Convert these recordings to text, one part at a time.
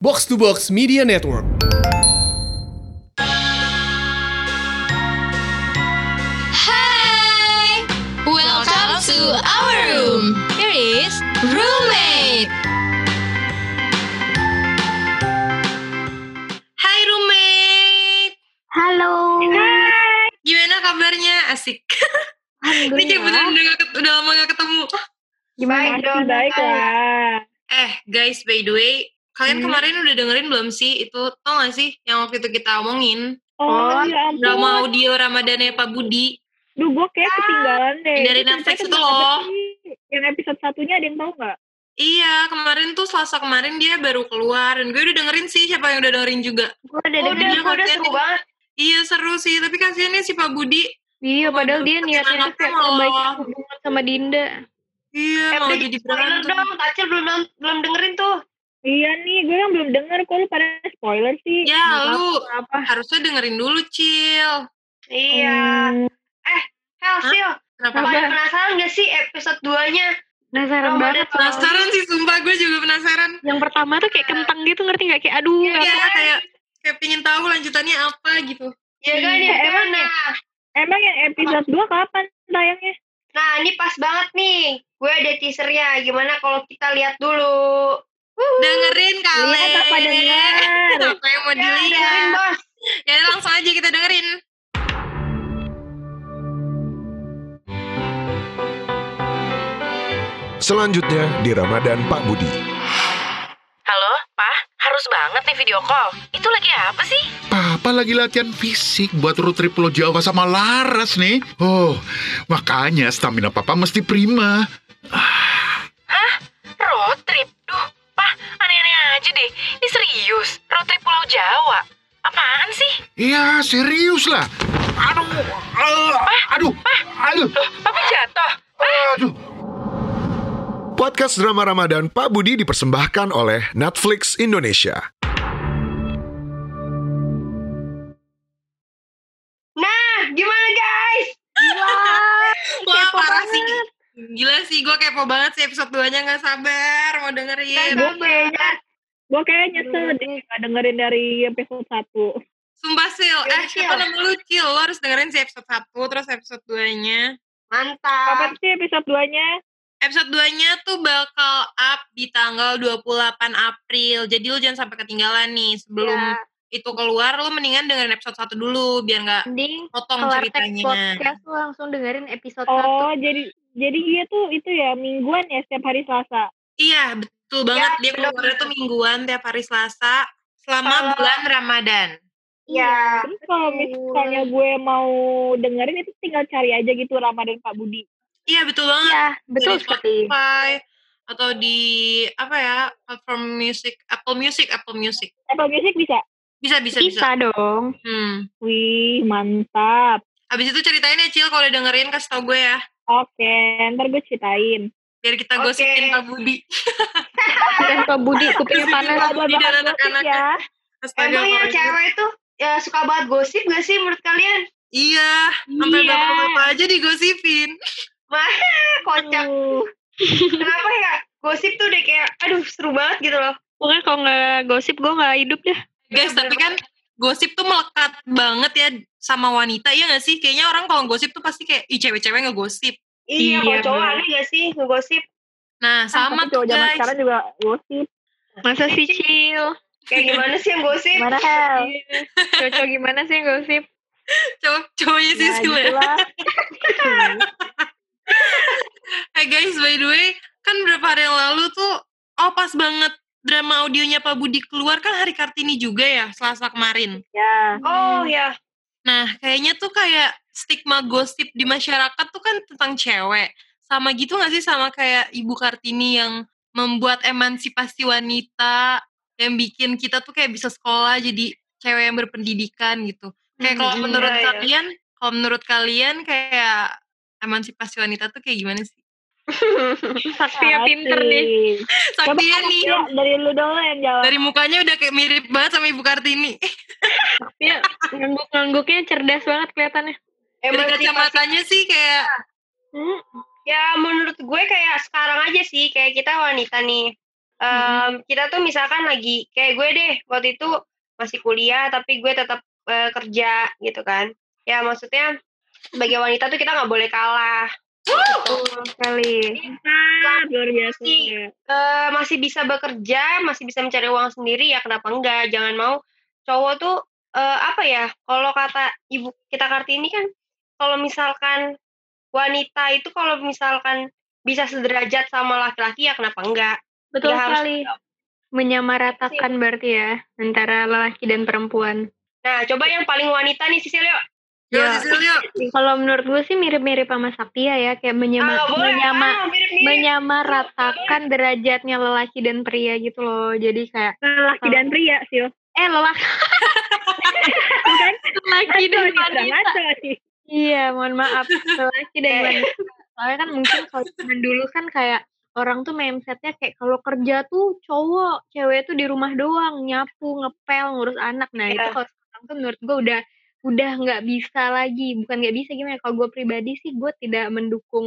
Box to Box Media Network. Hi! Welcome to our room. Here is roommate. Hai roommate, Halo. gimana kabarnya? Asik. Ini kayak beneran udah, gak ket- udah lama gak ketemu. Gimana Baik dong, baik lah. Eh guys, by the way, kalian kemarin udah dengerin belum sih itu tau gak sih yang waktu itu kita omongin Oh, ya Iya. ampun. drama audio Ramadannya Pak Budi? Duh, gue kayak Ah, ketinggalan deh. Dari Itu Netflix ceritanya itu tentang apa loh. sih? Yang episode satunya ada yang tahu nggak? Iya, kemarin tuh Selasa kemarin dia baru keluar dan gue udah dengerin sih siapa yang udah dengerin juga. Gue udah Udah, dengerin. gua udah seru banget. Iya seru sih, tapi kasihannya si Pak Budi. Oh, Iya, padahal dia Aduh, niatnya tuh anaknya kayak malah- membaiki hubungan sama Dinda. Eh, Iya, mau jadi berantem. Tacil belum belum dengerin tuh. Iya nih, gue yang belum denger. Kok lu pada spoiler sih? Iya. Ya, lu Apa? harusnya dengerin dulu, Cil. Iya. Hmm, Eh, Elsil, Kenapa? pada penasaran gak sih episode Oh, 2-nya? Penasaran banget. Penasaran sih, sumpah gue juga penasaran. Yang pertama tuh kayak kentang gitu ngerti gak? Kayak aduh. Iya, apa- kayak kayak pingin tahu lanjutannya apa gitu. Ya kan Iya, ya, emang emang ya. Emang yang episode 2 kapan tayangnya? Nah, ini pas banget nih. Gue ada teasernya. Gimana kalau kita lihat dulu? Dengerin Iya, kali. Lihat apa dengar? Apa yang mau Ya, Iya, dengerin, dilihat? bos. Ya langsung aja kita dengerin. Selanjutnya di Ramadan Pak Budi. Halo, Pak, harus banget nih video call. Itu lagi apa sih? Papa lagi latihan fisik buat road trip Pulau Jawa sama Laras nih. Oh, makanya stamina Papa mesti prima. Road trip. Duh, Pak, aneh-aneh aja deh. Ini serius, road trip Pulau Jawa. Apaan sih? Iya, serius lah. Aduh, ah, aduh, aduh, Papa jatuh. aduh. Podcast drama Ramadan Pak Budi dipersembahkan oleh Netflix Indonesia. Nah, gimana guys? Wah, parah sih. Gila sih, gue kepo banget sih episode 2-nya gak sabar mau dengerin. Gak sabar. Gue kayak nyesel deh nggak dengerin dari episode 1. Sumpah, Sil. Yaudah, Eh, siapa Sil. nama lu, Cil? Lo harus dengerin si episode 1, terus episode 2-nya. Kapan Mantap. Ah. sih episode 2-nya? Episode 2-nya tuh bakal up di tanggal 28 April. Jadi lu jangan sampai ketinggalan nih. Sebelum Ya, itu keluar, lu mendingan dengerin episode 1 dulu. Biar gak Mending potong kelar Oh, teks ceritanya. podcast lu langsung dengerin episode Oh, jadi jadi dia tuh itu ya mingguan ya setiap hari Selasa. Iya, betul banget. dia bener-bener. keluar itu mingguan tiap hari Selasa selama Kalau- bulan Ramadan. Iya, iya. ya. Terus kalau misalnya gue mau dengerin itu tinggal cari aja gitu Ramadan Pak Budi. Iya, betul 1. banget. Iya, Di betul sekali. Spotify atau di apa ya? platform music, Apple Music, Apple Music. Apple Music bisa? Bisa bisa bisa. Bisa dong. Hmm. Wih, mantap. Habis itu ceritain ya, Cil, kalau udah dengerin kasih tau gue ya. Oke, ntar gue ceritain. Biar kita Oke. gosipin Pak Budi. Dan Pak Budi kupingnya Bisa panas. Pak Kalau Budi dan bahas gosip anak-anaknya. ya, Astaga, Emang Pak yang Budi. cewek tuh ya suka banget gosip gak sih menurut kalian? Iya, sampai Iya. bapak-bapak aja digosipin. Ah, Kocak. Kenapa ya? Gosip tuh udah kayak, aduh seru banget gitu loh. Pokoknya kalau nggak gosip gue nggak hidup deh. Guys, tapi kan gosip tuh melekat banget ya sama wanita, ya gak sih? Kayaknya orang kalau gosip tuh pasti kayak, ih cewek-cewek ngegosip. Iya, kalau Iya, cowok bener. aneh gak sih ngegosip? Nah, sama tuh Tapi Kan cowok zaman guys. sekarang juga gosip. Masa sih Cil? Kayak gimana sih yang gosip? Gimana Hel? Cocok gimana sih gosip? Cowok cowoknya sih Nah, Sil ya. gitulah. Eh guys, by the way, kan beberapa hari yang lalu tuh, oh pas banget drama audionya Pak Budi keluar kan hari Kartini juga ya, Selasa kemarin. Ya, Oh ya, Nah, kayaknya tuh kayak stigma gosip di masyarakat tuh kan tentang cewek. Sama gitu gak sih sama kayak Ibu Kartini yang membuat emansipasi wanita, yang bikin kita tuh kayak bisa sekolah jadi cewek yang berpendidikan gitu. Kayak kalau Hmm, menurut iya, iya. kalian, kalau menurut kalian kayak emansipasi wanita tuh kayak gimana sih? Sakti ya pinter nih. asik. Coba Saktia Kak ya nih, Tia, ya, dari lu dulu yang jawab. dari mukanya udah kayak mirip banget sama Ibu Kartini. Dia ngangguk-ngangguknya cerdas banget kelihatannya. Dari emansipasi. kacamatanya sih kayak, Ya menurut gue kayak sekarang aja sih kayak kita wanita nih. Eh em, kita tuh misalkan lagi kayak gue deh waktu itu masih kuliah tapi gue tetap eh, kerja gitu kan ya maksudnya sebagai wanita tuh kita nggak boleh kalah gitu, Betul sekali. Mantap, luar biasa. Iya. Eh, masih bisa bekerja masih bisa mencari uang sendiri ya kenapa enggak jangan mau cowok tuh eh, apa ya kalau kata ibu kita kartini kan kalau misalkan wanita itu kalau misalkan bisa sederajat sama laki-laki ya kenapa enggak Betul Nggak harus- sekali. Menyamaratakan berarti ya antara lelaki dan perempuan. nah coba yang paling wanita nih Sisilio Ya, kalau menurut gue sih mirip-mirip sama Sapia ya, kayak menyama, Ah, boleh. menyama, Ah, mirip-mirip. menyamaratakan derajatnya lelaki dan pria gitu loh. Jadi kayak Laki dan pria, Sil. eh lelaki Bukan? lelaki dan wanita. Ngaco nih. Iya, mohon maaf lelaki Eh, dan wanita. Soalnya kan mungkin kalau zaman dulu kan kayak orang tuh mindsetnya kayak kalau kerja tuh cowok, cewek tuh di rumah doang, nyapu, ngepel, ngurus anak. Nah itu Iya. kalau sekarang tuh menurut gue udah udah nggak bisa lagi. Bukan nggak bisa gimana? ya, Kalau gue pribadi sih gue tidak mendukung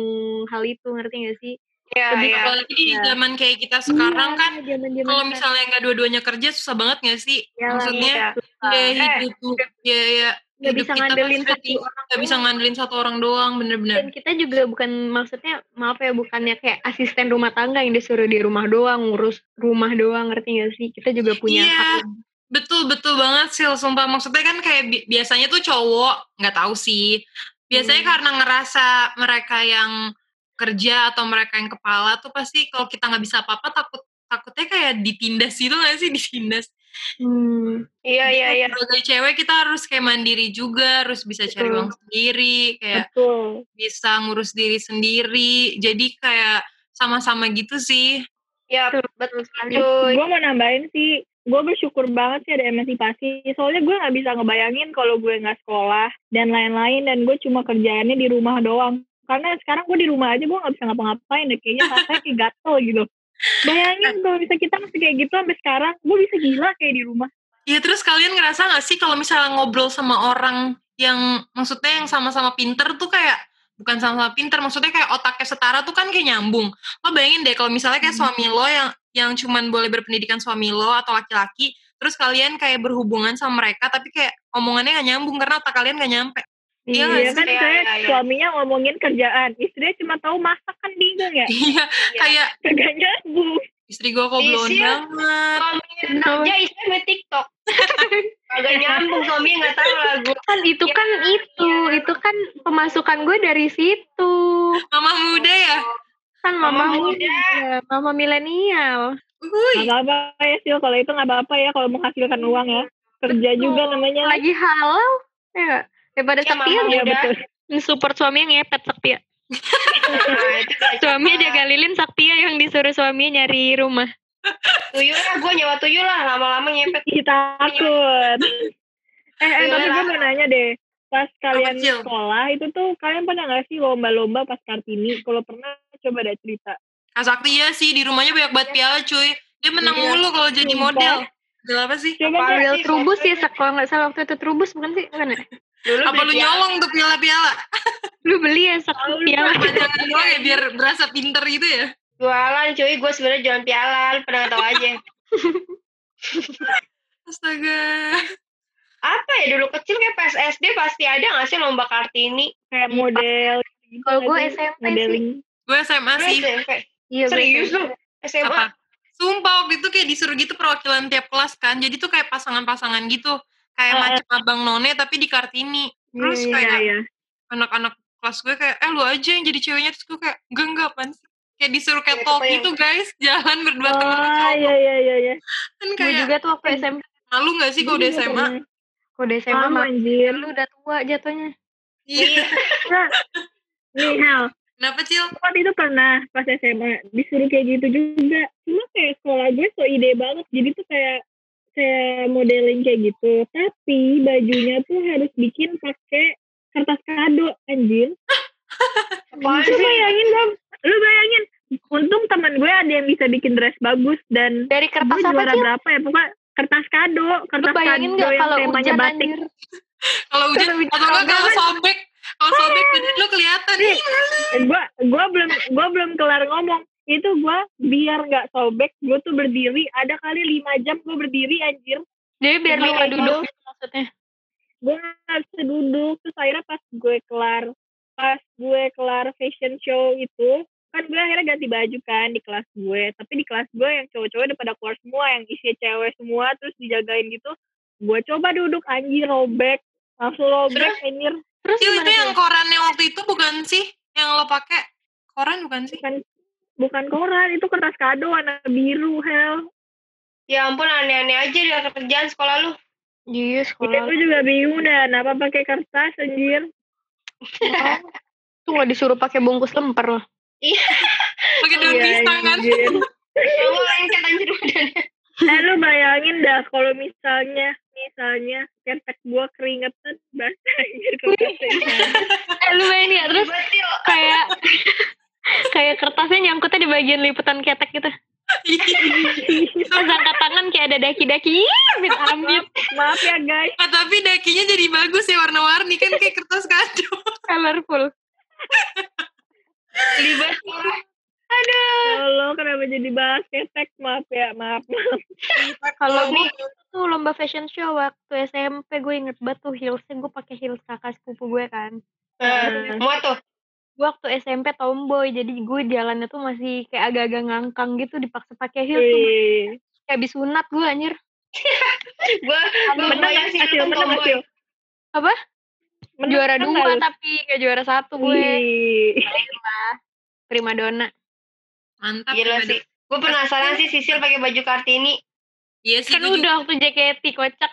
hal itu, ngerti gak sih? ya Lebih ya Apalagi di Iya. zaman kayak kita sekarang kan zaman-zaman kalau misalnya nggak dua-duanya kerja susah banget nggak sih? Iya lah, Maksudnya iya. biaya Eh, hidup tuh biaya nggak hidup bisa kita kan ngandelin sudah satu di- orang nggak bisa ngandelin satu orang doang bener-bener. Iya. dan kita juga bukan maksudnya maaf ya bukannya kayak asisten rumah tangga yang disuruh di rumah doang ngurus rumah doang ngerti gak sih kita juga punya Iya. hak Betul betul banget sih, sumpah maksudnya kan kayak bi- biasanya tuh cowok nggak tahu sih. Biasanya Hmm. karena ngerasa mereka yang kerja atau mereka yang kepala tuh pasti kalau kita nggak bisa apa-apa takut takutnya kayak ditindas gitu nggak sih ditindas. Hmm, iya iya iya Sebagai cewek kita harus kayak mandiri juga, harus bisa cari Betul. uang sendiri, kayak Betul. bisa ngurus diri sendiri. Jadi kayak sama-sama gitu sih. ya Betul. betul sekali cuy Gue mau nambahin sih, gue bersyukur banget sih ada emansipasi. Soalnya gue nggak bisa ngebayangin kalau gue nggak sekolah dan lain-lain dan gue cuma kerjaannya di rumah doang. Karena sekarang gue di rumah aja gue nggak bisa ngapa-ngapain, deh. kayaknya rasanya kayak gatel gitu. Bayangin kalau bisa kita masih kayak gitu sampai sekarang, gue bisa gila kayak di rumah. Ya terus kalian ngerasa nggak sih kalau misalnya ngobrol sama orang yang maksudnya yang sama-sama pinter tuh kayak bukan sama-sama pinter, maksudnya kayak otaknya setara tuh kan kayak nyambung. Lo bayangin deh kalau misalnya kayak suami lo yang yang cuman boleh berpendidikan suami lo atau laki-laki, terus kalian kayak berhubungan sama mereka tapi kayak omongannya nggak nyambung karena otak kalian nggak nyampe. Iya nggak Iya sih? kan, Iya, saya iya, iya. suaminya ngomongin kerjaan, istrinya cuma tahu masak kan bingung ya. Iya, kayak Gak nyambung. istri gue kok belum Iya. banget. suaminya kerja istrinya Ya, main TikTok agak nyambung suaminya nggak tahu lagu kan itu Ya, kan itu ya. itu kan pemasukan gue dari situ Mama muda Iya. ya? kan mama Mama muda mama milenial Wuih. Gak apa-apa ya Sil, kalau itu gak apa-apa ya kalau menghasilkan uang ya. Kerja juga namanya. lagi halal ya nggak? daripada Ya, Saktia mama Iya muda. betul. support suaminya ngepet Saktia nah, itu nggak suaminya apa-apa. jaga lilin Saktia yang disuruh suaminya nyari rumah tuyul lah gue nyewa tuyul lah lama-lama Iya. nyepet Ih, takut. eh, eh, tapi gue mau nanya deh. Pas kalian Cil? sekolah itu tuh kalian pernah gak sih lomba-lomba pas Kartini? Kalau pernah coba ada cerita. Kak Sakti ya sih di rumahnya banyak banget piala cuy. Dia menang Iya. mulu kalau jadi Sumpah. model. Gak apa sih? Coba Apaan? deh. Real sih, Trubus soalnya- ya Sak, kalau nggak salah waktu itu Trubus bukan sih bukan ya? dulu Apa lu beli piala. nyolong tuh piala-piala? lu beli ya Sak piala Panjangan doang ya biar berasa pinter gitu ya. jualan cuy gue sebenarnya jualan piala lu pernah nggak tahu aja Astaga. apa ya dulu kecil kayak pas SD pasti ada nggak sih lomba kartini Kayak model. gitu Kalau nggak gue sih? SMP sih. Modeling. Gue SMA Lu sih. SMP iya serius lu betul. SMA Apa? Sumpah waktu itu kayak disuruh gitu perwakilan tiap kelas kan. Jadi tuh kayak pasangan-pasangan gitu. Kayak Ah. macam abang none tapi di Kartini. Terus Iya, kayak iya. anak-anak kelas gue kayak, eh lu aja yang jadi ceweknya. Terus gue kayak, enggak, enggak apaan sih. Kayak disuruh kayak Ya, talk kebayang. gitu guys. Jalan berdua Ah, teman. iya, iya, iya. iya. Kan gue kayak juga tuh waktu SMP malu gak sih kalau udah Iya, SMA? pernah. kalau udah SMA Sama, mah anjir. lu udah tua jatuhnya Iya. Nih, Hel. Kenapa Cil? Waktu itu pernah pas SMA disuruh kayak gitu juga. Cuma kayak sekolah gue so ide banget. Jadi tuh kayak kayak modeling kayak gitu. Tapi bajunya tuh harus bikin pakai kertas kado anjir. Apaan Lu sih? bayangin dong. Lu bayangin. Untung teman gue ada yang bisa bikin dress bagus dan dari kertas gue apa juara sih berapa ya pokoknya kertas kado, lu kertas bayangin kado nggak yang kalau temanya hujan batik. anjir Kalau hujan Kalau hujan atau enggak kalau rombongan. sobek, kalau sobek badan lu kelihatan. Ih, gue gue belum gue belum kelar ngomong itu gue biar nggak sobek gue tuh berdiri ada kali 5 jam gue berdiri anjir Jadi biar lu Iya, nggak iya. duduk maksudnya. gue nggak bisa duduk terus akhirnya pas gue kelar pas gue kelar fashion show itu kan gue akhirnya ganti baju kan di kelas gue tapi di kelas gue yang cowok-cowok udah pada keluar semua yang isinya cewek semua terus dijagain gitu gue coba duduk anjir robek langsung robek anjir Terus Cil, gimana itu yang tuh? koran yang waktu itu bukan sih? Yang lo pakai koran bukan sih? bukan bukan koran itu kertas kado warna biru hell Ya ampun aneh-aneh aja di kerjaan sekolah lu. Iya, itu sekolah. gue juga bingung dah kenapa pakai kertas anjir Itu nggak disuruh pakai bungkus lempar loh. Iya. Pakai daun Iya, pisang kan? anjir. Kamu lengket anjir badannya. Eh lu bayangin dah kalau misalnya misalnya kepet gua keringetan basah anjir kertasnya. Eh, lu main ya, terus Betul. kayak kayak kertasnya nyangkutnya di bagian liputan ketek gitu. Terus angkat tangan kayak ada daki-daki. Amit amit. Maaf ya guys, Ah, tapi dakinya jadi bagus ya warna-warni kan kayak kertas kado. Colorful. Libas sekolah. kalau kenapa jadi bahas ketek maaf ya maaf. Kalau gue tuh lomba fashion show waktu SMP gue inget banget tuh heelsnya gue pakai heels kakak sepupu gue kan. Eh, Muat tuh. gue waktu SMP tomboy jadi gue jalannya tuh masih kayak agak-agak ngangkang gitu dipaksa pakai heels tuh Wih. kayak habis sunat gue anjir Gua gua Menang gak sih bayangin Cil? lu Menang gak tomboy. Cil? Apa? Menang juara kan dua gak? tapi gak juara satu gue Wih. prima donna Mantap. ya, Gila Bada. sih. Gue penasaran sih Sisil pakai baju Kartini. Iya sih. kan gua juga. udah waktu JKT kocak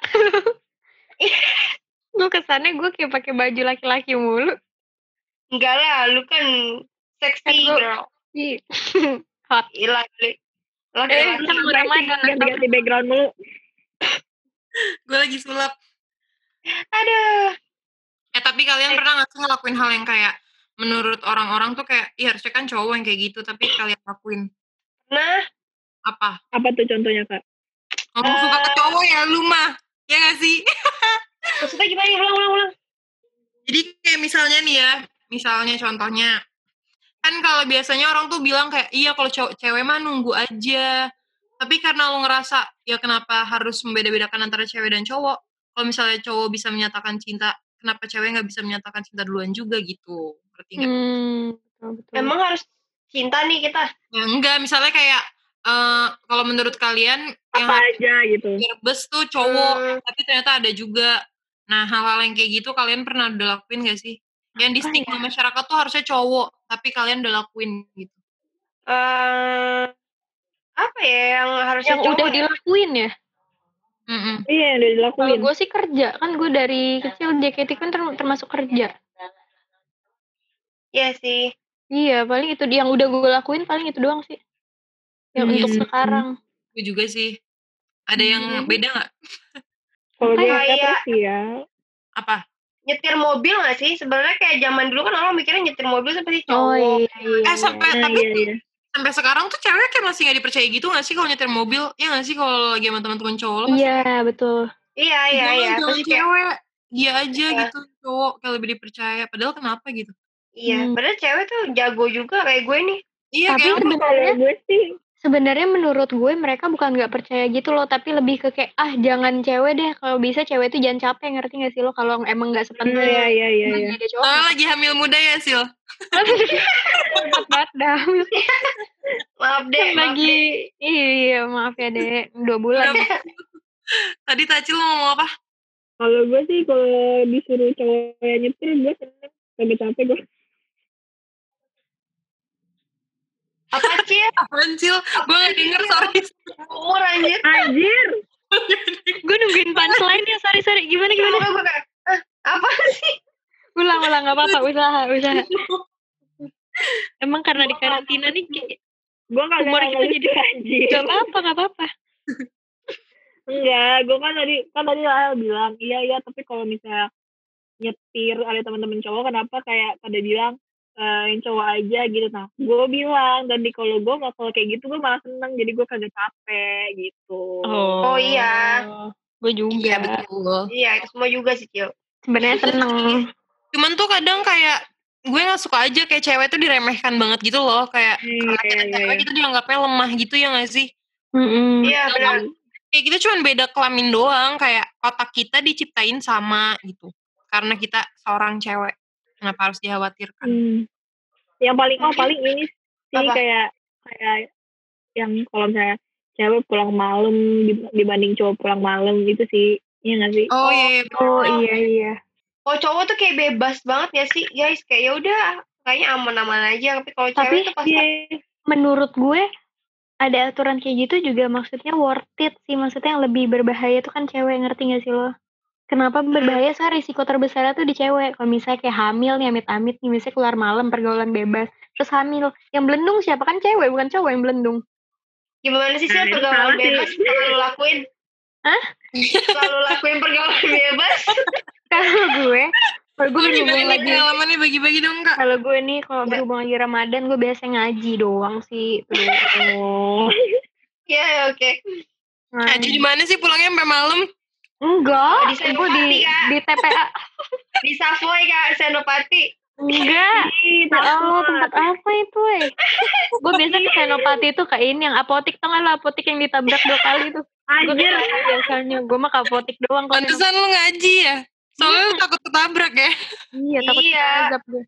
gue kesannya gue kayak pakai baju laki-laki mulu Enggak lah, lu kan Kan sexy gua- girl. Ih, Gila, gila. Eh, Laki-laki. bentar, ganti- ganti-ganti background mulu. Gue lagi sulap. Aduh. Eh tapi kalian pernah nggak sih ngelakuin hal yang kayak menurut orang-orang tuh kayak, iya harusnya kan cowok yang kayak gitu, tapi kalian lakuin Nah, apa? Apa tuh contohnya kak? Ngomong suka ke cowok ya lu mah, ya gak sih? maksudnya gimana? Ulang, ulang, ulang. Jadi kayak misalnya nih ya, misalnya contohnya, kan kalau biasanya orang tuh bilang kayak, iya kalau cowok cewek mah nunggu aja. Tapi karena lu ngerasa, ya kenapa harus membeda-bedakan antara cewek dan cowok? Kalau misalnya cowok bisa menyatakan cinta, kenapa cewek nggak bisa menyatakan cinta duluan juga gitu? Ngerti nggak? hmm, betul, betul. Emang harus cinta nih kita. Ya, enggak, misalnya kayak, eh, kalau menurut kalian, yang Apa aja gitu. direbes tuh cowok, Hmm, tapi ternyata ada juga. Nah, hal-hal yang kayak gitu kalian pernah udah lakuin gak sih? Yang di Apa stigma masyarakat tuh harusnya cowok, tapi kalian udah lakuin gitu. eh, apa ya yang harusnya yang udah ya? dilakuin ya Mm-mm. Iya yang udah kalau dilakuin. gue sih kerja kan gue dari kecil JKT kan term- termasuk kerja Iya sih. Iya, paling itu yang udah gue lakuin paling itu doang sih. Yang Hmm, iya untuk sih. sekarang. Gue juga sih. Ada yang beda nggak? Kalau gue Kayak- iya. terus ya. Apa? Nyetir mobil gak sih? Sebenarnya kayak zaman dulu kan orang mikirnya nyetir mobil seperti Oh cowok. iya, iya. eh sampai Nah, tapi iya iya. sampai sekarang tuh cewek kayak masih nggak dipercaya gitu nggak sih kalau nyetir mobil? Ya nggak sih kalau lagi sama teman-teman cowok lo? Iya, betul. Iya, iya, Jangan, iya. jangan Pasti kayak- cewek. Dia aja Iya. gitu cowok kayak lebih dipercaya. Padahal kenapa gitu? Iya, Hmm. padahal cewek tuh jago juga kayak gue nih. Iya tapi kayak Kalau sebenarnya gue sih sebenarnya menurut gue mereka bukan nggak percaya gitu loh, tapi lebih ke kayak ah jangan cewek deh, kalau bisa cewek tuh jangan capek ngerti gak sih lo kalau emang nggak sepentar Iya iya iya iya. ada cowok. Soalnya lagi hamil muda ya Sil. Hebat banget dah. Maaf deh, maaf Lagi deh. iya maaf ya deh dua bulan. Tadi Tacil lo ngomong apa? Kalau gue sih kalau disuruh cowok yang nyetir gue seneng kagak capek gue. Apa Cil? Apaan Sil? Gue Iya. nggak denger sorry. Umur anjir. Anjir. gue nungguin punchline ya, sorry sorry. Gimana gimana? Kenapa gue kayak, "Eh, apa sih? Ulang ulang nggak apa-apa, usaha usaha. Emang karena di karantina nih kayak Gue kagak Umur kita jadi anjir. Gak apa-apa, gak apa-apa. Enggak, gue kan tadi kan tadi Lael bilang iya iya tapi kalau misalnya nyetir ada teman-teman cowok kenapa kayak pada bilang eh, yang cowok aja gitu nah gue bilang dan di kalau gue nggak kalau kayak gitu gue malah seneng jadi gue kagak capek gitu Oh, iya. Gue juga. betul. Iya, itu semua juga sih, Cil. Sebenarnya seneng. Cuman tuh kadang kayak gue nggak suka aja kayak cewek tuh diremehkan banget gitu loh kayak Hmm, karena kita iya, cewek iya. kita dianggapnya lemah gitu ya nggak sih Mm-mm. Iya, benar. kayak kita cuman beda kelamin doang kayak otak kita diciptain sama gitu karena kita seorang cewek kenapa harus dikhawatirkan Hmm. Yang paling oh Mungkin- paling ini sih Apa? kayak kayak yang kalau misalnya cewek pulang malam dib- dibanding cowok pulang malam gitu sih. Iya nggak sih? oh iya, iya Oh iya iya. Kalau cowok tuh kayak bebas banget ya sih guys, kayak ya udah kayaknya aman-aman aja. Tapi kalau Tapi, cewek tuh pasti Iya. Menurut gue ada aturan kayak gitu juga maksudnya worth it sih maksudnya yang lebih berbahaya tuh kan cewek ngerti gak sih lo? Kenapa berbahaya soal risiko terbesarnya tuh di cewek kalau misalnya kayak hamil nih amit-amit nih misalnya keluar malam pergaulan bebas terus hamil yang belendung siapa kan cewek bukan cowok yang belendung gimana sih sih Nah, itu pergaulan salah sih. bebas selalu lakuin? Hah? Selalu lakuin pergaulan bebas. kalau gue kalau gue gue berhubungan iya. gimana nih lagi pengalamannya bagi-bagi dong kak kalau gue nih kalau berhubungan lagi Ramadan gue biasa ngaji doang sih tuh Iya, ya, oke. nah, jadi mana sih pulangnya sampai malam enggak Di gue di Senopati, Kak. di TPA Di Savoy ya, Kak Senopati. enggak Ya Oh, Allah, tempat apa itu, eh? gue biasa ke Senopati itu ke ini yang apotik tengah lah apotik yang ditabrak dua kali tuh. Gue Anjir. biasanya gue mah ke apotik doang kalau pantesan lu ngaji ya soalnya lu takut ketabrak ya iya takut Iya. diazab gue.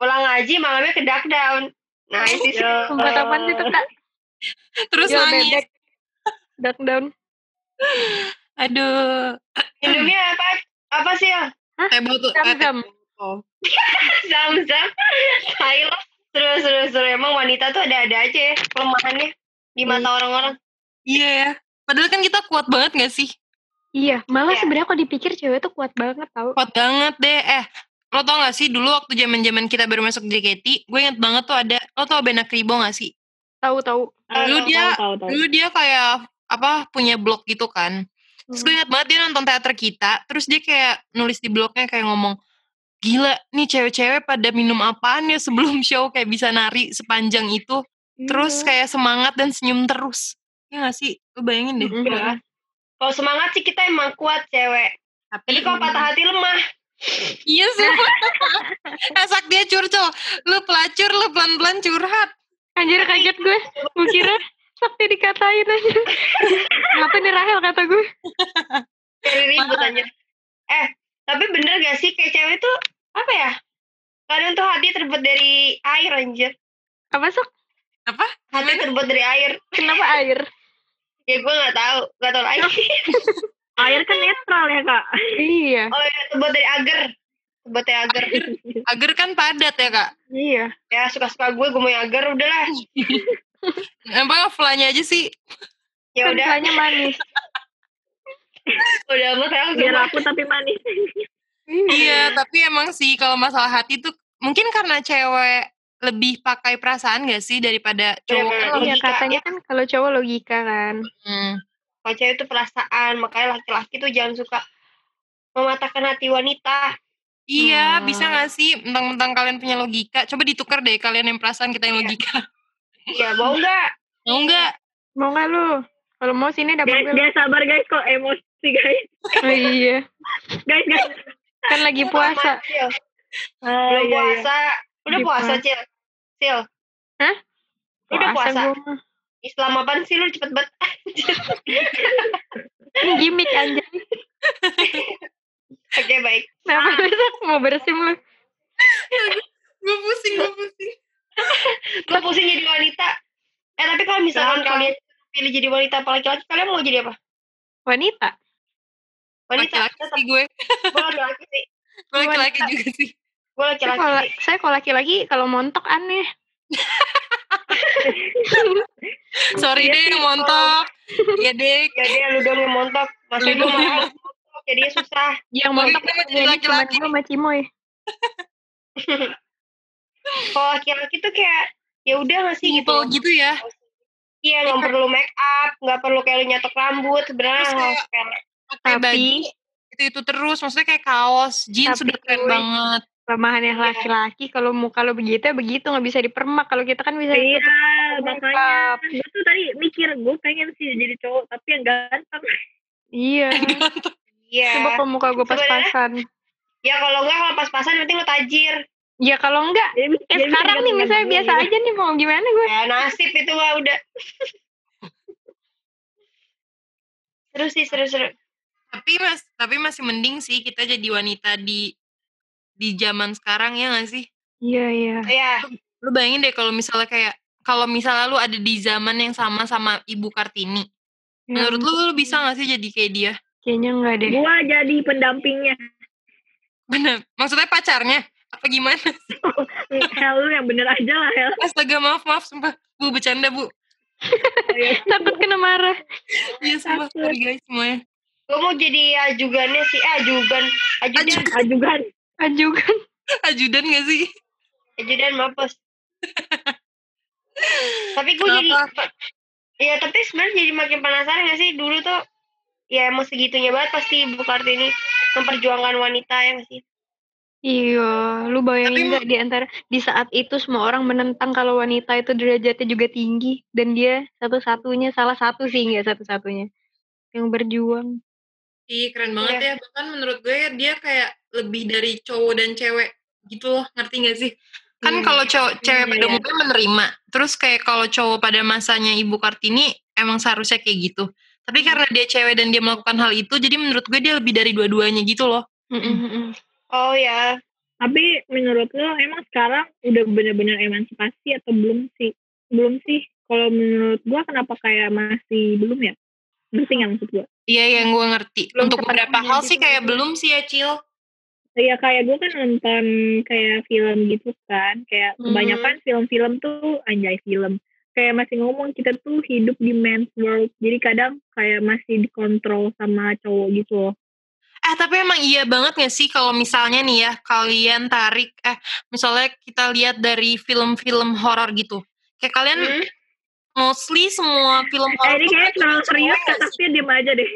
Pulang ngaji malamnya ke duck down. Nice Nah, sih. Tempat apa sih itu kak? terus Yo, nangis bebek. Duck down. aduh Minumnya apa? Apa sih ya? teh bau tuh eh, teh Zam-zam. Zam-zam. Hai lo. Terus, terus, terus. Emang wanita tuh ada-ada aja ya kelemahannya di mata orang-orang. Iya ya. Padahal kan kita kuat banget gak sih? Iya, malah Iya. sebenarnya kalau dipikir cewek tuh kuat banget tau. Kuat banget deh. Eh, lo tau gak sih dulu waktu zaman zaman kita baru masuk JKT, gue inget banget tuh ada, lo tau Bena Kribo gak sih? Tahu tahu. Dulu dia- tahu, tahu, tahu. Dulu dia kayak, apa, punya blog gitu kan. Terus gue inget banget dia nonton teater kita, terus dia kayak nulis di blognya kayak ngomong, gila nih cewek-cewek pada minum apaan ya sebelum show kayak bisa nari sepanjang itu. Terus kayak semangat dan senyum terus. Ya gak sih? Lo bayangin deh. Mm-mm. Iya. Kalau semangat sih kita emang kuat cewek. Tapi Tapi Hmm. kalau patah hati lemah. Iya sih. Asak dia curcol. Lu pelacur, lu pelan-pelan curhat. Anjir kaget gue. Gue kira Sakti dikatain aja. Ngapa nih Rahel kata gue? Cari ribut aja. Eh, tapi bener gak sih kayak cewek tuh apa ya? Kadang tuh hati terbuat dari air anjir. Apa sok? Hati terbuat dari air. Kenapa air? Ya gue gak tahu, gak tahu lagi. air kan netral ya kak. iya. Oh ya, terbuat dari agar. Terbuat dari agar. Agar kan padat ya kak. Iya. Ya suka-suka gue, gue mau yang agar udahlah. Apa flanya Nah, aja sih? Ya Kan udah, rasanya manis. udah amat ya. Biar aku tapi manis. Iya, tapi emang sih kalau masalah hati tuh mungkin karena cewek lebih pakai perasaan gak sih daripada cowok. Bener-bener. Iya Logika, katanya kan kalau cowok logika kan. Hmm. Kalau cewek itu perasaan, makanya laki-laki tuh jangan suka mematahkan hati wanita. Iya, Hmm. bisa gak sih mentang-mentang kalian punya logika. Coba ditukar deh kalian yang perasaan kita yang logika. Ya mau nggak? Mau nggak? Mau nggak lu? Kalau mau sini dapat Guys, gue. guys sabar guys kok emosi guys. Oh, iya. Guys guys. Kan lagi puasa. Cil. Ah, Belum iya, iya. puasa. Udah Lagi puasa, puasa. Cil. Cil. Hah? Udah puasa. gue mah. Islam apaan sih lu cepet banget? Ini gimmick anjay. Oke, baik. Kenapa lu Sak? mau bersim lu? Gue pusing, gue pusing. Gue pusing jadi wanita. Eh, tapi kalau misalkan Kenapa? kalian pilih jadi wanita apa laki-laki, kalian mau jadi apa? Wanita. Wanita? Laki-laki Tetap. sih gue. Gue laki-laki sih. Gue laki-laki juga sih. Gue Saya laki-laki kalau sih. saya kalau laki-laki kalau montok aneh. Sorry deh yang montok. Iya deh. Ya deh, lu dong yang montok. Maksud Lu gue dong yang mahal. Jadinya susah. Yang Kalau montok kita mau jadi ini cuma laki-laki. gue sama Cimoy. Kalau laki-laki tuh kayak, ya udah gak sih gitu. Simple gitu ya. Iya, nggak perlu make up, nggak perlu kayak lu nyatok rambut, sebenarnya Terus nggak kayak- harus kayak pakai Tapi- baju itu itu terus maksudnya kayak kaos jeans Tapi sudah keren cuy. banget Kelemahan yang laki-laki kalau muka lo begitu ya begitu nggak bisa dipermak. Kalau kita kan bisa Iya, makanya Mantap. gue tuh tadi mikir gue pengen sih jadi cowok tapi yang ganteng. Iya. iya. Coba kalau muka gue Sebenarnya- pas-pasan. Ya kalau nggak kalau pas-pasan nanti lu tajir. Ya kalau enggak, Jadi Iya, eh bisa- jadi sekarang bisa nih digantung-gantung misalnya gitu. biasa aja nih mau gimana gue. Ya nasib itu mah udah. seru sih, seru seru. tapi mas tapi masih mending sih kita jadi wanita di di zaman sekarang ya nggak sih Iya, iya. Ya, lu bayangin deh kalau misalnya kayak kalau misalnya lu ada di zaman yang sama sama ibu kartini Nah, menurut lu lu bisa nggak sih jadi kayak dia Kayaknya enggak deh. Gua jadi pendampingnya. bener maksudnya pacarnya apa gimana Hel Ya, lu yang bener aja lah Hel. astaga maaf maaf sumpah bu bercanda bu Takut kena marah. iya sumpah sorry guys semuanya gue mau jadi ajugannya sih, eh, ajugan, ajudan, Ajugan. Ajukan. ajudan gak sih ajudan mapus. tapi gue jadi, ya tapi sebenarnya jadi makin penasaran gak sih dulu tuh, ya emang segitunya banget pasti Ibu Kartini memperjuangkan wanita ya nggak sih. Iya, lu Tapi bayangin mau- nggak di antara di saat itu semua orang menentang kalau wanita itu derajatnya juga tinggi dan dia satu-satunya salah satu sih nggak satu-satunya yang berjuang. Iya keren banget ya bahkan menurut gue dia kayak lebih dari cowok dan cewek gitu loh ngerti gak sih kan Iya. kalau cowok cewek pada Iya. umumnya menerima terus kayak kalau cowok pada masanya ibu kartini emang seharusnya kayak gitu Iya. tapi karena dia cewek dan dia melakukan hal itu jadi menurut gue dia lebih dari dua-duanya gitu loh Mm-mm-mm. Oh ya, Tapi menurut lo emang sekarang udah bener-bener emansipasi atau belum sih? Belum sih. Kalau menurut gua kenapa kayak masih belum ya? Ngerti nggak maksud gua? iya yang gue ngerti Belum untuk beberapa sepenuhnya hal gitu sih kayak belum sih ya cil Iya kayak gua kan nonton kayak film gitu kan. Kayak Hmm. kebanyakan film-film tuh anjay film. Kayak masih ngomong kita tuh hidup di men's world. Jadi kadang kayak masih dikontrol sama cowok gitu loh. Eh tapi emang iya banget gak sih kalau misalnya nih ya kalian tarik eh misalnya kita lihat dari film-film horor gitu. Kayak kalian Hmm. mostly semua film Eh Oh, horor ini tuh kayaknya pakai terlalu cowok serius nggak Kak sih? Sakti diem aja deh.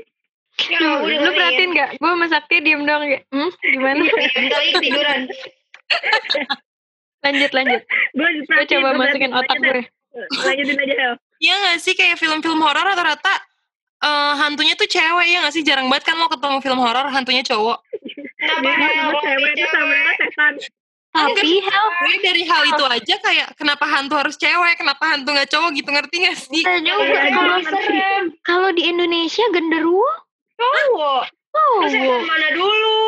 ya Tuh, udah lu perhatiin nggak? Gue sama Sakti diem doang kayak, hmm, gimana? iya, tiduran. lanjut lanjut. Gue Gue coba masukin otak gue. Lanjutin aja Hel. Iya gak sih kayak film-film horor rata-rata eh, hantunya tuh cewek ya gak sih? Jarang banget kan lo ketemu film horor hantunya cowok. Kenapa Jadi Hel? gue Lo cewek itu sama cewek. gue setan. Tapi Hel, Gue dari hal itu aja kayak kenapa hantu harus cewek, kenapa hantu gak cowok gitu ngerti gak sih? kita juga Iya, kalau Kalau serem, kalau di Indonesia genderuwo, cowok. Terus yang cowok, mana dulu?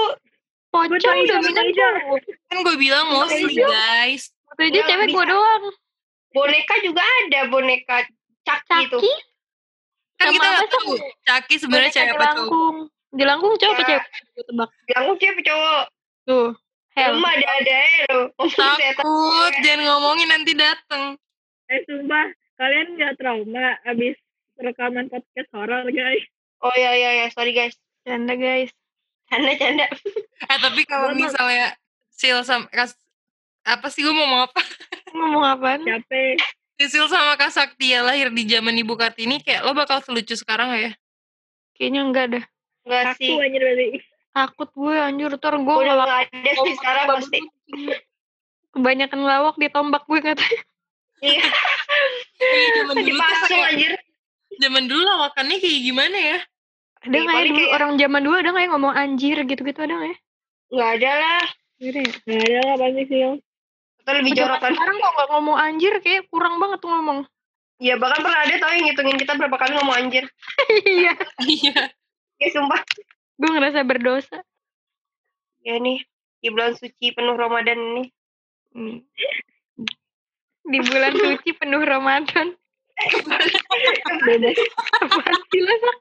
pocong Bener, dominan Indonesia. cowok. Kan gue bilang mostly guys. Itu aja Nggak cewek gue bisa. doang. Boneka juga ada, boneka gitu. caki itu. Caki, Kan Sama kita gak apa sih? tahu Caki sebenarnya boneka cewek apa cowok. jelangkung. Jelangkung cowok apa Ya. cewek? Gue tebak. Yang cewek cowok. Tuh, Hel. Rumah ada ada ya lo. Takut, jangan ngomongin nanti dateng. Eh sumpah, kalian nggak trauma abis rekaman podcast horor guys. Oh ya ya ya, sorry guys. Canda guys. Canda canda. Eh tapi kalau Bener. misalnya Sil sama Kas- apa sih gue mau ngomong apa? Ngomong apaan? Capek. Sil sama Kak Saktia lahir di zaman Ibu Kartini kayak lo bakal selucu sekarang nggak ya? Kayaknya enggak dah. Enggak Aku sih. anjir berarti. Takut gue anjur, ntar gue Udah malah nggak ada sih sekarang pasti. kebanyakan lawak ditombak gue katanya. Iya. Iya, zaman dulu tuh Dipasung kayak- anjir. zaman dulu lawakannya kayak gimana ya? Ada Iya, nggak ya paling dulu kayak- orang zaman dulu ada nggak ya ngomong anjir gitu-gitu ada nggak ya? Enggak ada lah. Nggak ada ya? Gak ada lah pasti sih. Atau lebih kan. Zaman jorokan. sekarang kok nggak ngomong anjir kayak kurang banget tuh ngomong. Ya bahkan pernah ada tau yang ngitungin kita berapa kali ngomong anjir. Iya, Iya. Ya sumpah. gue ngerasa berdosa. Ya nih. Di bulan suci penuh Ramadan ini. Hmm. Di bulan suci penuh Ramadan. Apaan sih lo, Sak?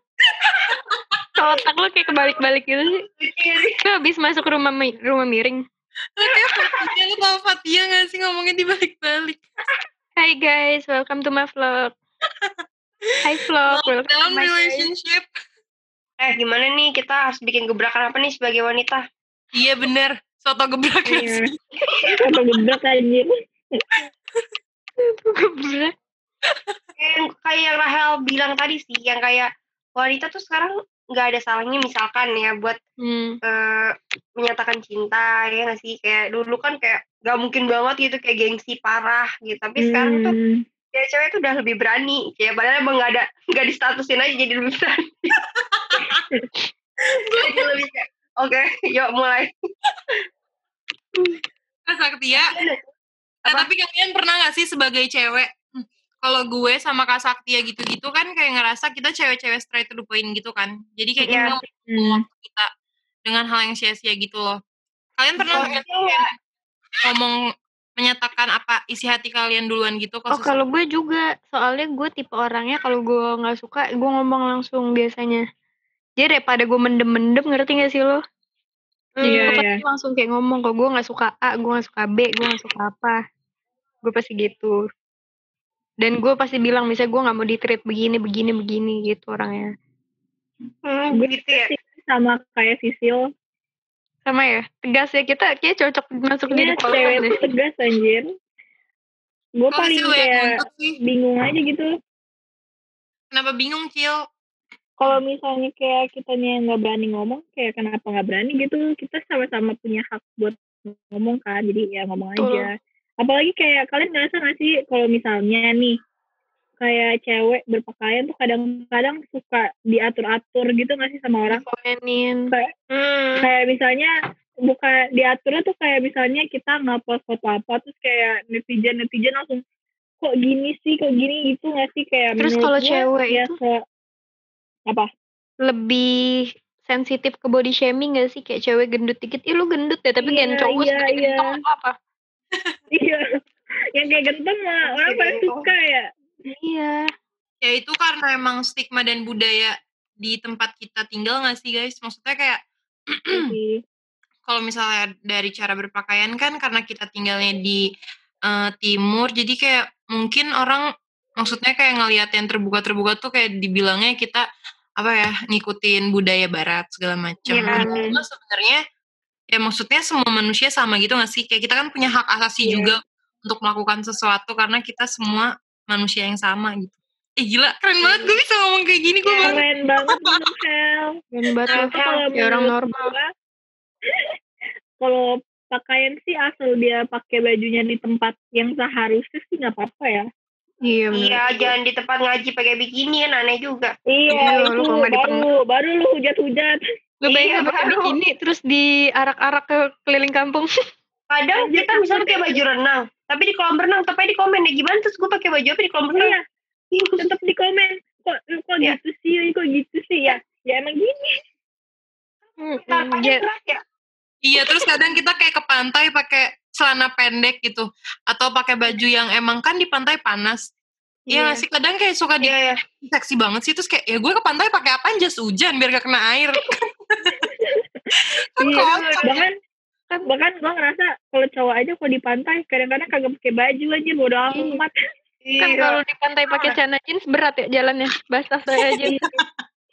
Kalau otak lo kayak kebalik-balik gitu sih. Suci ya sih. Gue habis masuk rumah mi- rumah miring. Lo kayak Fatia, lo Iya, tau Fatia gak sih ngomongnya dibalik-balik? Hai guys, welcome to my vlog. Hai vlog, welcome to Dalam my guys. relationship. Eh gimana nih kita harus bikin gebrakan apa nih sebagai wanita? Iya bener. Soto gebrak gak Iya. sih? Apa gebrak anjir. Gebrak. Kayak yang kayak yang Rahel bilang tadi sih, yang kayak wanita tuh sekarang nggak ada salahnya misalkan ya buat Hmm. eh, menyatakan cinta ya nggak sih kayak dulu kan kayak nggak mungkin banget gitu kayak gengsi parah gitu tapi sekarang tuh Hmm. kayak cewek tuh udah lebih berani kayak padahal emang nggak ada nggak distatusin aja jadi lebih berani Jadi lebih kayak, oke yuk mulai Mas Saktia. Nah, tapi kalian pernah gak sih sebagai cewek, hmm, kalau gue sama Kak Saktia gitu-gitu kan kayak ngerasa kita cewek-cewek straight to the point gitu kan. Jadi kayak kita Iya. membuang waktu kita dengan hal yang sia-sia gitu loh. Kalian pernah Kalau nggak sih cewek. kayak ngomong menyatakan apa isi hati kalian duluan gitu ke Oh seseorang? kalau gue juga, soalnya gue tipe orangnya kalau gue nggak suka, gue ngomong langsung biasanya. Jadi daripada gue mendem-mendem, ngerti gak sih lo? Iya, Gue iya. pasti langsung kayak ngomong, kalau gue nggak suka A, gue nggak suka B, gue nggak suka apa. Gue pasti gitu. Dan gue pasti bilang, misalnya gue nggak mau ditreat begini, begini, begini gitu orangnya. Hmm, Gue gitu ya. sama kayak Sisil. Sama ya, tegas ya, kita kayak cocok masuk di Ini Iya, cewek podcast deh. itu tegas anjir. Gue Kok sih paling lo ya, yang kayak nuntut sih? bingung aja gitu. Kenapa bingung, Cil? Kalau misalnya kayak kitanya yang nggak berani ngomong, kayak kenapa nggak berani gitu? Kita sama-sama punya hak buat ngomong kan, jadi ya ngomong Betul. aja. Apalagi kayak kalian ngerasa nggak sih kalau misalnya nih kayak cewek berpakaian tuh kadang-kadang suka diatur-atur gitu nggak sih sama orang? Komenin. Hmm. kayak misalnya bukan diaturnya tuh kayak misalnya kita nggak post foto apa terus kayak netizen netizen langsung kok gini sih kok gini gitu nggak sih kayak Terus menurut kalau gua cewek ya itu? se- apa lebih sensitif ke body shaming gak sih kayak cewek gendut dikit ih lu gendut ya tapi Iya, gen cowok iya, sebagai iya. gentong atau apa iya yang kayak genteng mah orang Oke, paling oh. suka ya iya Ya itu karena emang stigma dan budaya di tempat kita tinggal nggak sih guys? Maksudnya kayak kalau misalnya dari cara berpakaian kan karena kita tinggalnya di eh, timur, jadi kayak mungkin orang maksudnya kayak ngelihat yang terbuka-terbuka tuh kayak dibilangnya kita apa ya ngikutin budaya barat segala macam. Iya. Padahal sebenarnya ya maksudnya semua manusia sama gitu nggak sih? Kayak kita kan punya hak asasi juga untuk melakukan sesuatu karena kita semua manusia yang sama gitu. Eh gila, Iya. keren banget gue bisa ngomong kayak gini gue banget. keren banget gitu Hel dan buat lu Tapi Nah, kalau ya orang menurut normal gua, kalau pakaian sih asal dia pakai bajunya di tempat yang seharusnya sih nggak apa-apa ya iya bener. Iya, jangan di tempat ngaji pakai bikini kan aneh juga. Iya, lu Iya, itu kalau nggak dipengen- baru, baru lu hujat-hujat. lu bayangin Iya, pakai baru. bikini terus diarak-arak ke keliling kampung Kadang kita misalnya pakai baju renang, tapi di kolam renang, tapi di komen ya gimana terus gue pakai baju apa di kolam renang? Iya, tetap di komen. Kok, kok Iya. gitu sih, kok gitu sih ya. Ya emang gini. Tanpa ya, gerak ya. Iya, terus kadang kita kayak ke pantai pakai celana pendek gitu atau pakai baju yang emang kan di pantai panas. Iya nggak sih kadang kayak suka di Iya, iya. seksi banget sih terus kayak ya gue ke pantai pakai apa jas hujan biar gak kena air. kan Iya, kocak. bahkan kan bahkan gua ngerasa kalau cowok aja kalau di pantai kadang-kadang kagak pakai baju aja bodo amat. kan Iya. kalau di pantai pakai celana jeans berat ya jalannya basah saya aja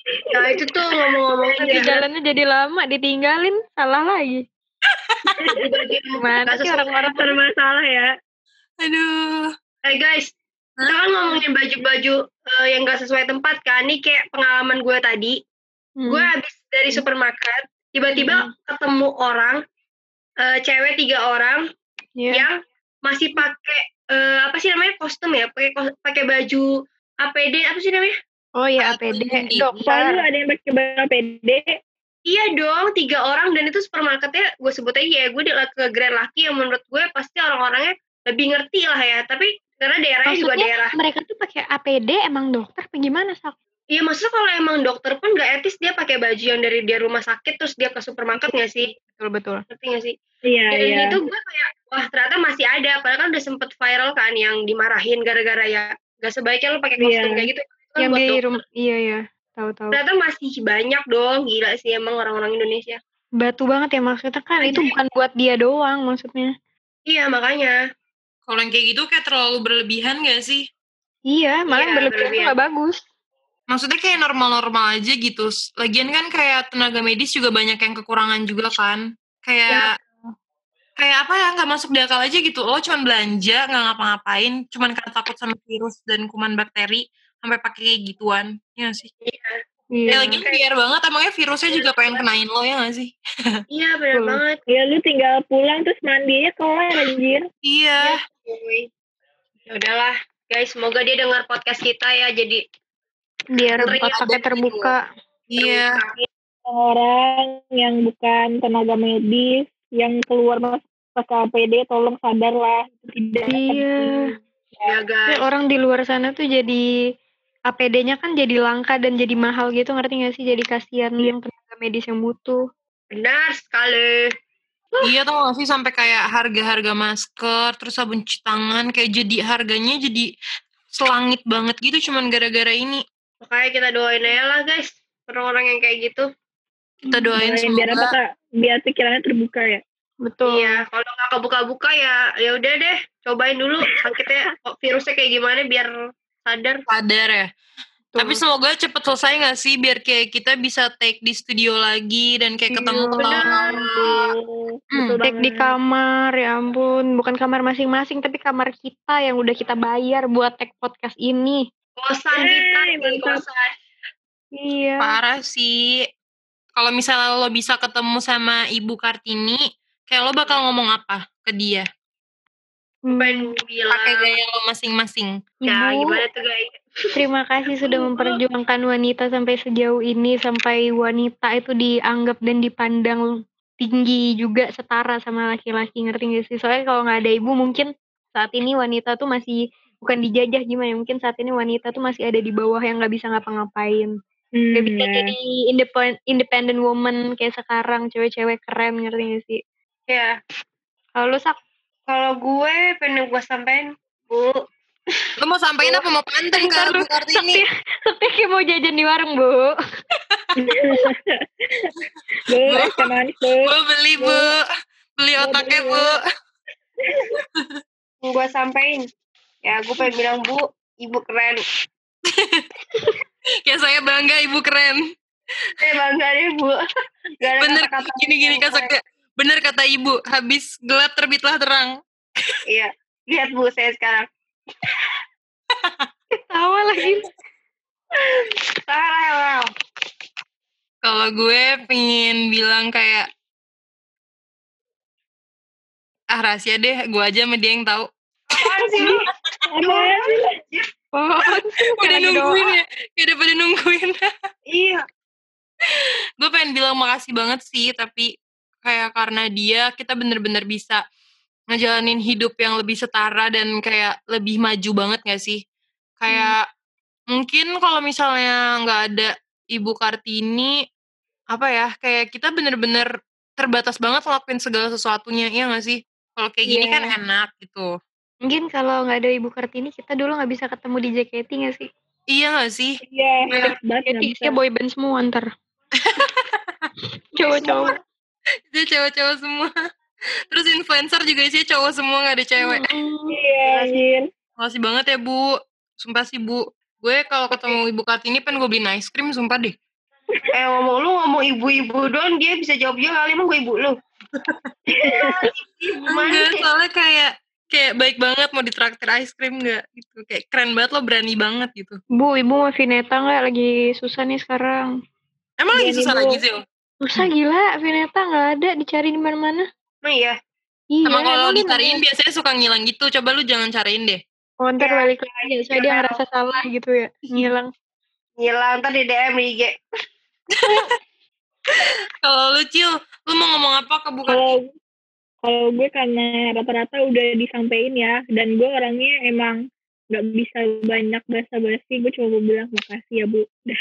Nah, itu tuh ngomong-ngomongnya nanti jalannya jadi lama ditinggalin salah lagi gimana sih orang-orang Bermasalah ya. Aduh. Hey guys, kita kan ngomongin baju-baju eh, yang gak sesuai tempat kan. Ini kayak pengalaman gue tadi. Hmm. Gue habis dari supermarket, tiba-tiba ketemu orang, eh, cewek tiga orang Iya. yang masih pakai eh, apa sih namanya kostum ya, pakai kos- pakai baju APD apa sih namanya? oh ya APD Iya. Selalu dokter ada yang pakai baju PD. Iya dong, tiga orang dan itu supermarketnya gue sebut aja ya gue di- ke Grand Laki yang menurut gue pasti orang-orangnya lebih ngerti lah ya. Tapi karena daerahnya juga Maksudnya? daerah mereka tuh pakai APD emang dokter apa gimana sak Iya maksudnya kalau emang dokter pun gak etis dia pakai baju yang dari dia rumah sakit terus dia ke supermarket gak sih? betul betul Ngerti gak sih? Iya, Dan iya. itu gue kayak wah ternyata masih ada padahal kan udah sempet viral kan yang dimarahin gara-gara ya gak sebaiknya lo pakai kostum Iya. kayak gitu. Itu Kan yang buat di dokter. rumah iya ya tahu-tahu Ternyata masih banyak dong gila sih emang orang-orang Indonesia. batu banget ya maksudnya kan itu bukan buat dia doang maksudnya Iya makanya. Kalau yang kayak gitu kayak terlalu berlebihan gak sih? iya malah Iya, yang berlebihan itu berlebihan. nggak bagus Maksudnya kayak normal-normal aja gitu. Lagian kan kayak tenaga medis juga banyak yang kekurangan juga kan. Kayak kayak apa ya nggak masuk di akal aja gitu. Lo cuman belanja nggak ngapa-ngapain, cuman karena takut sama virus dan kuman bakteri sampai pakai kayak gituan. Ya sih. Ya iya lagi biar banget emangnya virusnya juga pengen kenain lo ya gak sih? Iya benar Betul. banget. Ya lu tinggal pulang terus mandinya kelar anjir. Iya. Cuy. Ya udahlah guys semoga dia dengar podcast kita ya jadi biar Ngeri otaknya aja terbuka Iya. terbuka. orang yang bukan tenaga medis yang keluar masuk PKPD tolong sadarlah tidak Iya. ya Tapi guys orang di luar sana tuh jadi APD-nya kan jadi langka dan jadi mahal gitu ngerti gak sih jadi kasihan yang tenaga medis yang butuh benar sekali Iya tau gak sih sampai kayak harga-harga masker, terus sabun cuci tangan kayak jadi harganya jadi selangit banget gitu cuman gara-gara ini. makanya kita doain aja lah guys orang-orang yang kayak gitu Kita doain Doain biar apa semoga Kak? biar pikirannya terbuka ya betul iya kalau nggak kebuka-buka ya ya udah deh cobain dulu sakitnya kok virusnya kayak gimana biar sadar sadar ya. Tapi semoga cepet selesai gak sih biar kayak kita bisa take di studio lagi dan kayak ketemu ketawa-ketawa. Betul Cek di banget. kamar, ya ampun. Bukan kamar masing-masing, tapi kamar kita yang udah kita bayar buat tag podcast ini. kosan Yeay, kita nih, mantap. kosan Iya. Parah sih. Kalau misalnya lo bisa ketemu sama Ibu Kartini, kayak lo bakal ngomong apa ke dia? Ben bilang Pakai gaya lo masing-masing. ya Ibu, gimana tuh guys terima kasih sudah memperjuangkan wanita sampai sejauh ini. Sampai wanita itu dianggap dan dipandang tinggi juga setara sama laki-laki. Ngerti gak sih? Soalnya kalau nggak ada ibu mungkin saat ini wanita tuh masih bukan dijajah gimana ya, mungkin saat ini wanita tuh masih ada di bawah yang nggak bisa ngapa-ngapain Hmm, Gak bisa ya. jadi independent, independent woman kayak sekarang cewek-cewek keren ngerti gak sih? ya Kalau lu sak kalau gue pengen gue sampein bu Lo mau sampein apa mau panteng ke Ntar lu Ibu Kartini? sakti, sakti kayak mau jajan di warung bu. Bu, es teh manis, Bu. Bu beli bu, beli otaknya bu. gue sampein ya gue pengen bilang bu ibu keren Ya saya bangga ibu keren. eh bangga deh bu Gak ada Bener kata-kata gini gini yang kak keren. Sakti. Bener kata ibu, habis gelap terbitlah terang. iya lihat bu saya sekarang Tawa lagi. salah ya Kalau gue pengen bilang kayak ah rahasia deh, gue aja sama dia yang tahu. apaan sih lu Apaan sih? Oh, Udah nungguin ya, ya udah pada nungguin. iya gue pengen bilang makasih banget sih, tapi kayak karena dia kita bener-bener bisa ngejalanin hidup yang lebih setara dan kayak lebih maju banget gak sih? Kayak mungkin kalau misalnya nggak ada Ibu Kartini, apa ya, kayak kita bener-bener terbatas banget ngelakuin segala sesuatunya, ya gak sih? Kalau kayak gini kan enak gitu. Mungkin kalau nggak ada Ibu Kartini kita dulu nggak bisa ketemu di JKT nggak sih? Iya gak sih? Iya, Iya. banget, nggak Jadi bisa. isinya boyband semua ntar. Cowok-cowok. Itu cewek-cewek semua. Terus influencer juga isinya cowok semua gak ada cewek. Mm-mm. Iya, anjir. Makasih banget ya Bu. Sumpah sih Bu. Gue kalau ketemu Ibu Kartini pengen gue beliin ice cream sumpah deh. eh ngomong lu ngomong ibu-ibu doang dia bisa jawab jawab kali emang gue ibu lu ibu mana Enggak, soalnya kayak kayak baik banget mau ditraktir ice cream enggak gitu. Kayak keren banget lo berani banget gitu. Bu, ibu mau Vineta nggak lagi susah nih sekarang? Emang lagi Jadi, susah Bu. lagi sih. Susah gila, Vineta nggak ada dicari di mana-mana. emang iya Iya. Emang kalau emang dia nggak dicariin biasanya suka ngilang gitu. Coba lu jangan cariin deh. Oh, ntar Ya, balik lagi ya. Soalnya dia ngerasa salah gitu ya. Ngilang. gila ntar di DM di IG Kalau lu Cil, lu mau ngomong apa ke Bu Kartini? kalau kalau gue karena rata-rata udah disampaikan ya dan gue orangnya emang nggak bisa banyak basa-basi gue cuma mau bilang makasih ya bu Dah.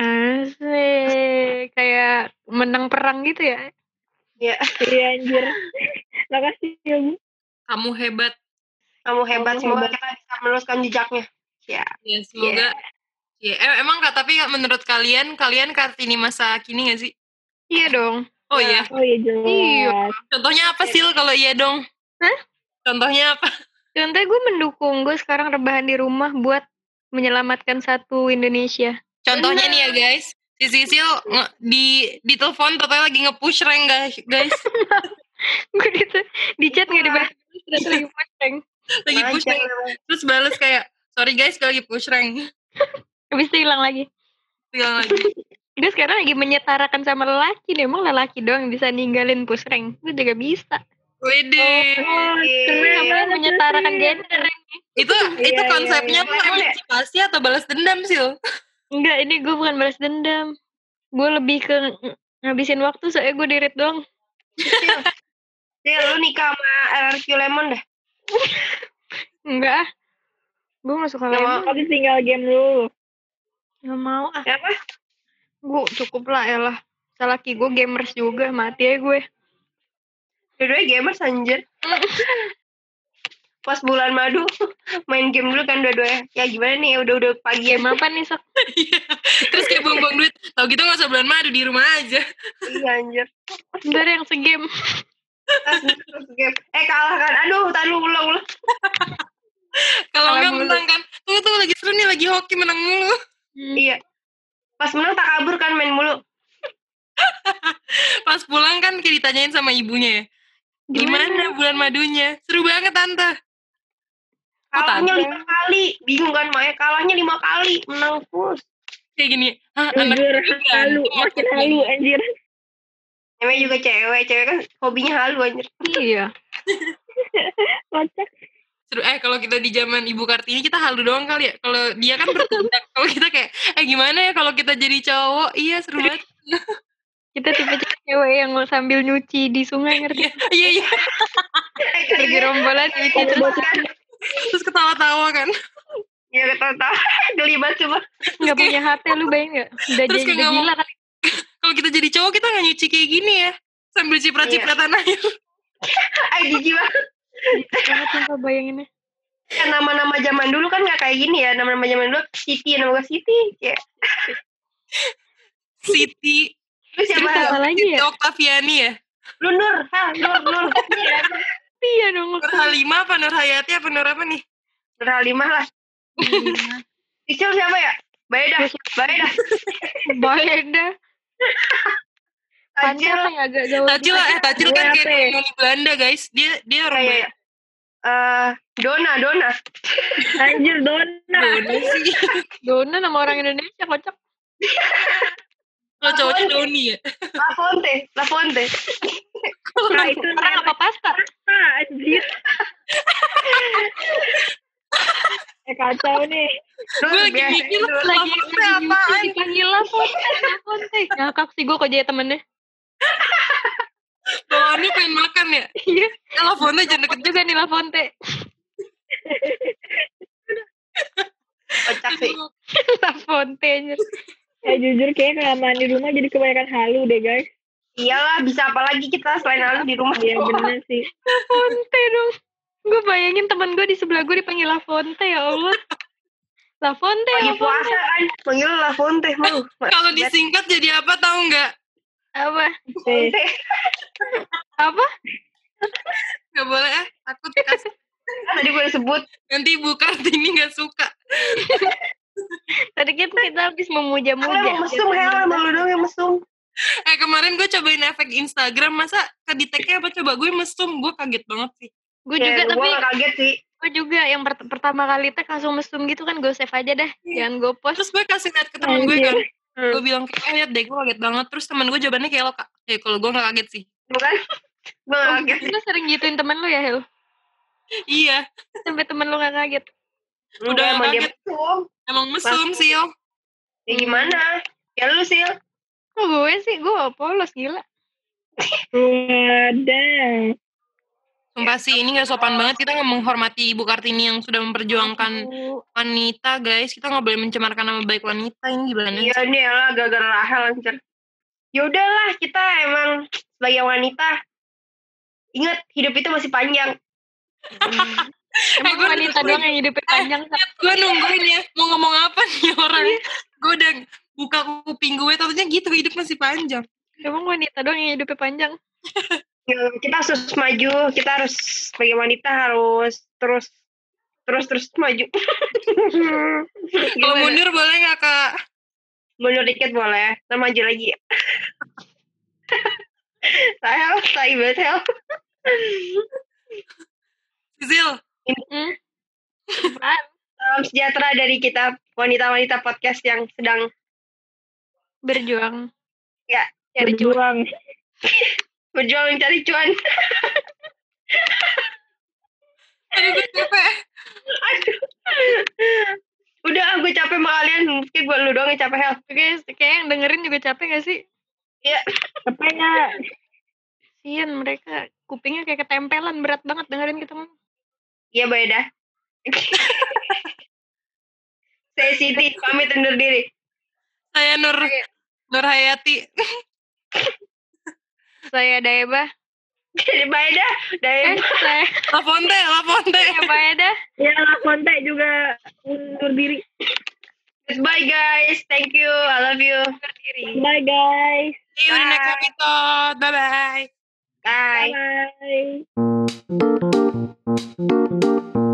Asik. Kayak menang perang gitu ya. iya anjir makasih ya bu Kamu hebat. kamu hebat Kamu semoga hebat. kita bisa meneruskan jejaknya Ya, semoga Ya, em- emang Kak, tapi menurut kalian, kalian Kartini masa kini gak sih? Iya dong. Oh iya, oh iya jelas Iya. Contohnya apa sih kalau iya dong? Hah? Contohnya apa? Contohnya gue mendukung. Gue sekarang rebahan di rumah buat menyelamatkan satu Indonesia. Contohnya nih ya guys, si Sisil nge- di di telepon totalnya lagi nge-push rank guys, guys. Gue gitu. Di chat gak dibahas. Ternyata lagi pusing. lagi push Ajar. rank. Terus balas kayak, sorry guys, gue lagi push rank. Habis itu hilang lagi. Bilang lagi. Gue sekarang lagi menyetarakan sama lelaki nih. Emang lelaki doang yang bisa ninggalin pusreng. Gue juga bisa. Wede. Oh, Iya. Iya, Keren apa? Menyetarakan gender. itu itu konsepnya iya. tuh emansipasi atau balas dendam Sil? Enggak, ini gue bukan balas dendam. Gue lebih ke ng- ngabisin waktu soalnya gue dirit doang. Sil, lu nikah sama LRQ Lemon dah. Enggak ah. Gue gak suka Nggak lemon. Tapi tinggal game dulu. Ya Gak mau ah. Kenapa? Gue cukup lah elah. Selaki gue gamers juga. Mati ya gue. Dua-duanya gamers anjir. Pas bulan madu, main game dulu kan dua-duanya. Ya gimana nih, udah-udah pagi ya. Game apa nih Sok? Terus kayak buang-buang duit. Kalau gitu nggak usah bulan madu di rumah aja. Iya anjir. Bentar yang segame. Terus, terus game. Eh kalah kan. Aduh, tadi ulang-ulang. Kalau Kalah nggak mulu. menang kan. Tuh tuh lagi seru nih lagi hoki menang mulu. Iya. Pas menang tak kabur kan main Oh, mulu. Pas pulang kan kayak ditanyain sama ibunya ya. Gimana, bulan madunya? Seru banget tante. Oh, Kalahnya tante. lima kali. Bingung kan, Maya. Kalahnya lima kali. Menang terus. Kayak gini. "Ah, Hah, anak Jujur, ketiga. halu, Oh, makin halu anjir. Namanya juga cewek. Cewek kan hobinya halu anjir. Iya. Kocak. Seru. Eh kalau kita di zaman Ibu Kartini kita halu doang kali ya. Kalau dia kan bertindak. kalau kita kayak eh gimana ya kalau kita jadi cowok? Iya seru banget. Kita tipe cewek yang sambil nyuci di sungai ngerti. Iya iya iya. Lagi rombolan Iya, nyuci gitu terus kan. Terus ketawa-tawa kan. Ya ketawa-tawa. Geli banget coba. nggak punya HP lu bayangin nggak? Udah Terus jadi kayak udah ngomong- gila kan? Kalau kita jadi cowok kita nggak nyuci kayak gini ya. Sambil ya. ciprat-cipratan aja. Ay, jijik banget. Banget sumpah bayanginnya. kan nama-nama zaman dulu kan nggak kayak gini ya nama-nama zaman dulu Siti nama gue Siti ya Siti. terus Terus siapa apa Hel? lagi ya? Oktaviani ya? lu Nur Hel Nur Nur Iya, Iya dong. Nur Halimah apa Nur Hayati apa Nur apa nih? Nur Halimah lah Iya. Cicil siapa ya Baik dah baik dah Bayangin Pantai Cicil apa yang agak jauh? Tajil eh Tajil kan kayak Apa ya? orang Belanda guys. Dia dia orang kayak Iya, eh Dona Dona Anjir, dona. Belanda sih. Dona nama orang Indonesia kocak. Kalau cowoknya Doni ya. La Fonte La Fonte Nah, itu Orang apa pasta? nama, anjir. eh, kacau nih. Nur Gue lagi biasa mikir Nur. lagi apaan? Dipanggil lah Fonte. Ngakak sih gue kok jadi temennya. Bawaannya pengen makan ya. Iya. Teleponnya jangan deket Takut juga nih lah Fonte. kocak sih dulu. La Fonte anjir. Eh, jujur kayaknya kelamaan di rumah jadi kebanyakan halu deh, guys. iyalah bisa apa lagi kita selain Alun di rumah Iya, bener ya sih. Fonte dong. Gue bayangin temen gue di sebelah gue dipanggil La Fonte ya Allah. La Fonte, lagi La puasa Fonte. kan panggil La Fonte mau Kalau disingkat jadi apa tahu nggak? Apa? Eh, Fonte Apa? Nggak boleh eh. Takut kas- Ah, tadi gue sebut nanti Bu Kartini nggak suka. Tadi kan kita habis Hel emang memuja-muja. mesum Hel emang lu doang yang mesum Eh kemarin gue cobain efek Instagram masa kedeteknya apa coba gue mesum gue kaget banget sih. Gue juga tapi gue kaget sih gue juga yang per- pertama kali tag langsung mesum gitu kan gue save aja dah. Jangan gue post. Terus gue kasih lihat ke temen gue Anjir. kan. Hmm. Gue bilang kayak eh, lihat deh gue kaget banget. Terus temen gue jawabannya kayak lo kak. Eh kalau gue nggak kaget sih. bukan gue Oh, kan? kaget sih Lu sering gituin temen lu ya, Hel? Iya. Sampai temen lu gak kaget. Udah Enggak, emang dia kaget. mesum Emang mesum sih yo. ya gimana ya lu sih Kok gue sih? Gue polos, gila. wadah. Sumpah sih ini nggak sopan banget kita nggak menghormati Ibu Kartini yang sudah memperjuangkan Hmm. wanita guys. Kita nggak boleh mencemarkan nama baik wanita ini gimana? iya nih lah gara-gara Rahel anjir ya udahlah kita emang sebagai wanita ingat hidup itu masih panjang Emang gue wanita nungguin. doang yang hidupnya panjang. Sa. Gue nungguin ya mau ngomong apa nih orang. Gue udah buka kuping gue tentunya gitu hidup masih panjang. Emang wanita doang yang hidupnya panjang. Ya, kita harus terus maju kita harus sebagai wanita harus terus terus terus maju Kalau Gimana? mundur boleh nggak kak? mundur dikit boleh kita maju lagi Rahel tai banget Rahel Zil, Hmm? salam sejahtera dari kita wanita-wanita podcast yang sedang Berjuang. Ya, Cari cuma Berjuang. berjuang mencari cuan. aduh gue capek. Aduh. Udah, ah, gue capek sama kalian. Mungkin gue lu doang yang capek, Hel. Guys, kayak yang dengerin juga capek gak sih? Apa enggak? Sian mereka kupingnya kayak ketempelan berat banget dengerin gitu. kita ngomong. Iya, Bay dah. Saya Siti, pamit undur diri. Saya Nur Nur Hayati. Saya Daeba. Jadi Bay dah. Dari Eh, saya La Fonte, La Fonte. Daeba. Ya, La Fonte juga undur diri. Eh. Bye guys. Thank you. I love you. Bye guys. See you in the next episode. Bye-bye. Bye. Bye.